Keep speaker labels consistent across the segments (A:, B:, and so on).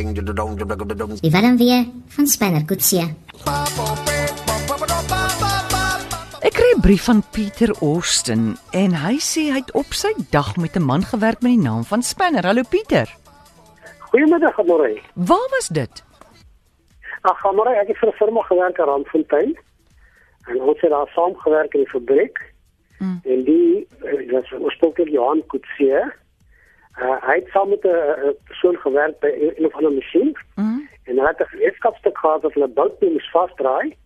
A: Die warm weer van Spanner Kutsie.
B: Ek kry 'n brief van Pieter Austin en hy sê hy het op sy dag met 'n man gewerk met die naam van Spanner. Hallo Pieter.
C: Goeiemiddag, Amore.
B: Waar was dit?
C: Ag, Amore, ek het vir 'n firma gewerk in Randfontein. En ons het daar saam gewerk in die fabriek. Mm. En die eh, was oorspronklik Johan Kutse. Uh, hy het saam met 'n eh, persoon gewerk by een een of ander masjien.
B: Mm.
C: En hulle het 'n gereedskapstuk gehad wat hulle bout mee moes vasdraai.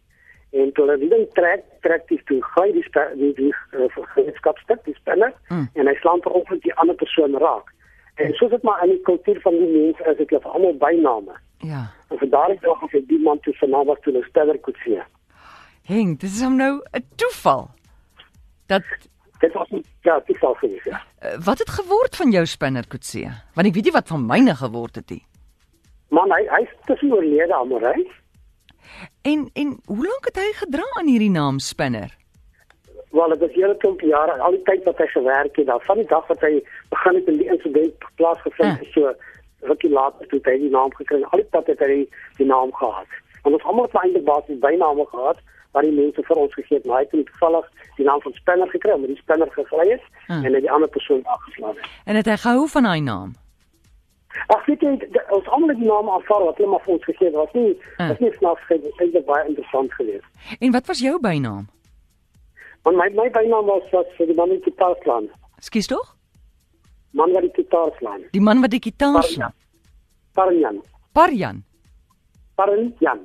C: En toe hulle die ding trek, trek die toe gaai die spe, die, die uh, gereedskapstuk, die spanner,
B: Mm.
C: mm. en hy slaan per ongeluk die ander persoon raak. En soos dit maar in die kultuur van die mense is, dit hulle almal byname.
B: Ja.
C: En vir daardie dag as ek die man toe vanaand was toe hulle steller kon sien.
B: Henk, dis is hom nou 'n toeval. Dat
C: Dit was nie- ja, dit sou gewees ja.
B: eh, wat het geword van jou Spanner Kutse? Want ek weet nie wat van myne geword het nie.
C: Man, hy hy is tussen oorlede aan Morey.
B: En en hoe lank het hy gedra aan hierdie naam Spanner?
C: Wel, dit is hele klomp jare, al die tyd wat hy gewerk het, daar van die dag wat hy begin het in die insident plaasgevind het, so rukkie later toe het hy die naam gekry. Al die tyd het hy die, die naam gehad. Want ons almal het maar eintlik basies byname gehad wat die mense vir ons gegee het, maar hy het nie toevallig die naam van Spanner gekry, maar die Spanner gegly het
B: Ah.
C: en hy die ander persoon afgeslaan het.
B: En het hy gehou van daai naam?
C: Ag weet jy, d- ons almal het die naam aanvaar wat hulle maar vir ons gegee het. Was nie
B: Ah.
C: was nie snaaks gegee, dit was baie interessant geweest.
B: En wat was jou bynaam?
C: Want my my bynaam was was vir die man met die gitaar slaan.
B: Skus tog?
C: Man wat die gitaar slaan.
B: Die man wat die gitaar slaan.
C: Parjan. Parjan.
B: Parjan.
C: Parjan.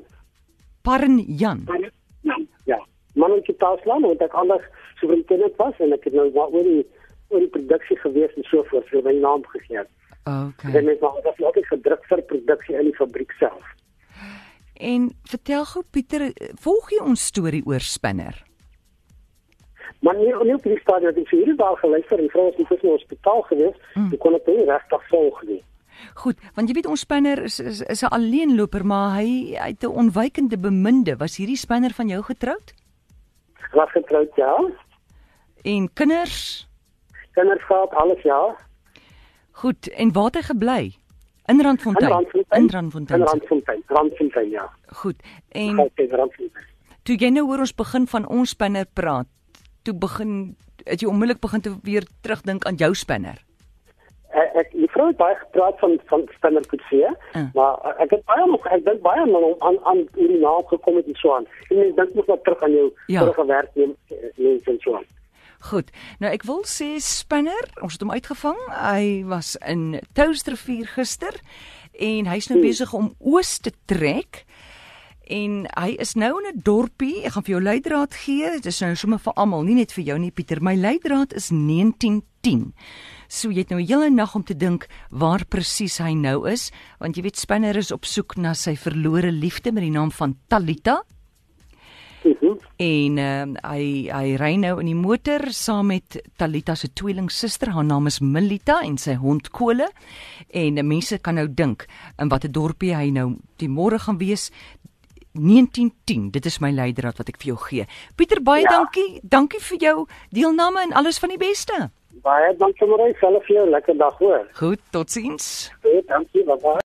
B: Parnjan.
C: Parjan. Ja. Man met die gitaar slaan want ek anders superintendent was en ek het nou maar oor die oor die produksie gewees en so voort vir my naam gegee.
B: Okay.
C: Dit is maar dat altyd gedruk vir produksie in die fabriek self.
B: En vertel gou Pieter, volg jy ons storie oor Spinner?
C: Maar nie nie op die stadium het ek vir hierdie dag geluister en vra ons het in die hospitaal gewees, mm. kon ek nie regtig volg nie.
B: Goed, want jy weet ons Spinner is is, is 'n alleenloper, maar hy hy het 'n onwykende beminde. Was hierdie Spinner van jou getroud?
C: Ek was getroud ja.
B: En kinders?
C: Kinders gehad alles ja.
B: Goed, en waar het hy gebly? In
C: In
B: Randfontein.
C: Randfontein.
B: In
C: In
B: Randfontein.
C: Randfontein. Randfontein ja.
B: Goed. En
C: Gaan sê Randfontein.
B: toe jy nou oor ons begin van ons Spinner praat, toe begin het jy onmiddellik begin te weer terugdink aan jou Spinner.
C: Ek, Eh, ek die vrou het baie gepraat van van Spinner Kutse,
B: Mm.
C: maar eh, ek het baie nog ek dink baie aan aan aan hoe die naam gekom het en so aan. En mens dink mos nog terug aan jou
B: Ja.
C: ja. vorige werk neem neem en so aan.
B: Goed. Nou ek wil sê Spinner, ons het hom uitgevang. Hy was in Touwsrivier gister en hy's nou besig om oos te trek. En hy is nou in 'n dorpie. Ek gaan vir jou leidraad gee. Dit is nou sommer vir almal, nie net vir jou nie Pieter. My leidraad is 1910. So jy het nou 'n hele nag om te dink waar presies hy nou is, want jy weet Spinner is op soek na sy verlore liefde met die naam van Talita
C: Mm -hmm.
B: en ehm hy hy ry nou in die motor saam met Talita se tweelingsuster haar naam is Milita en sy hond Kole en eh, mense kan nou dink in watter dorpie hy nou die môre gaan wees 1910 dit is my leidraad wat ek vir jou gee Pieter baie ja.
C: Ja.
B: dankie dankie vir jou deelname en alles van die beste
C: Baie dankie Marie, self vir jou lekker dag hoor.
B: goed totsiens
C: Baie dankie, bye.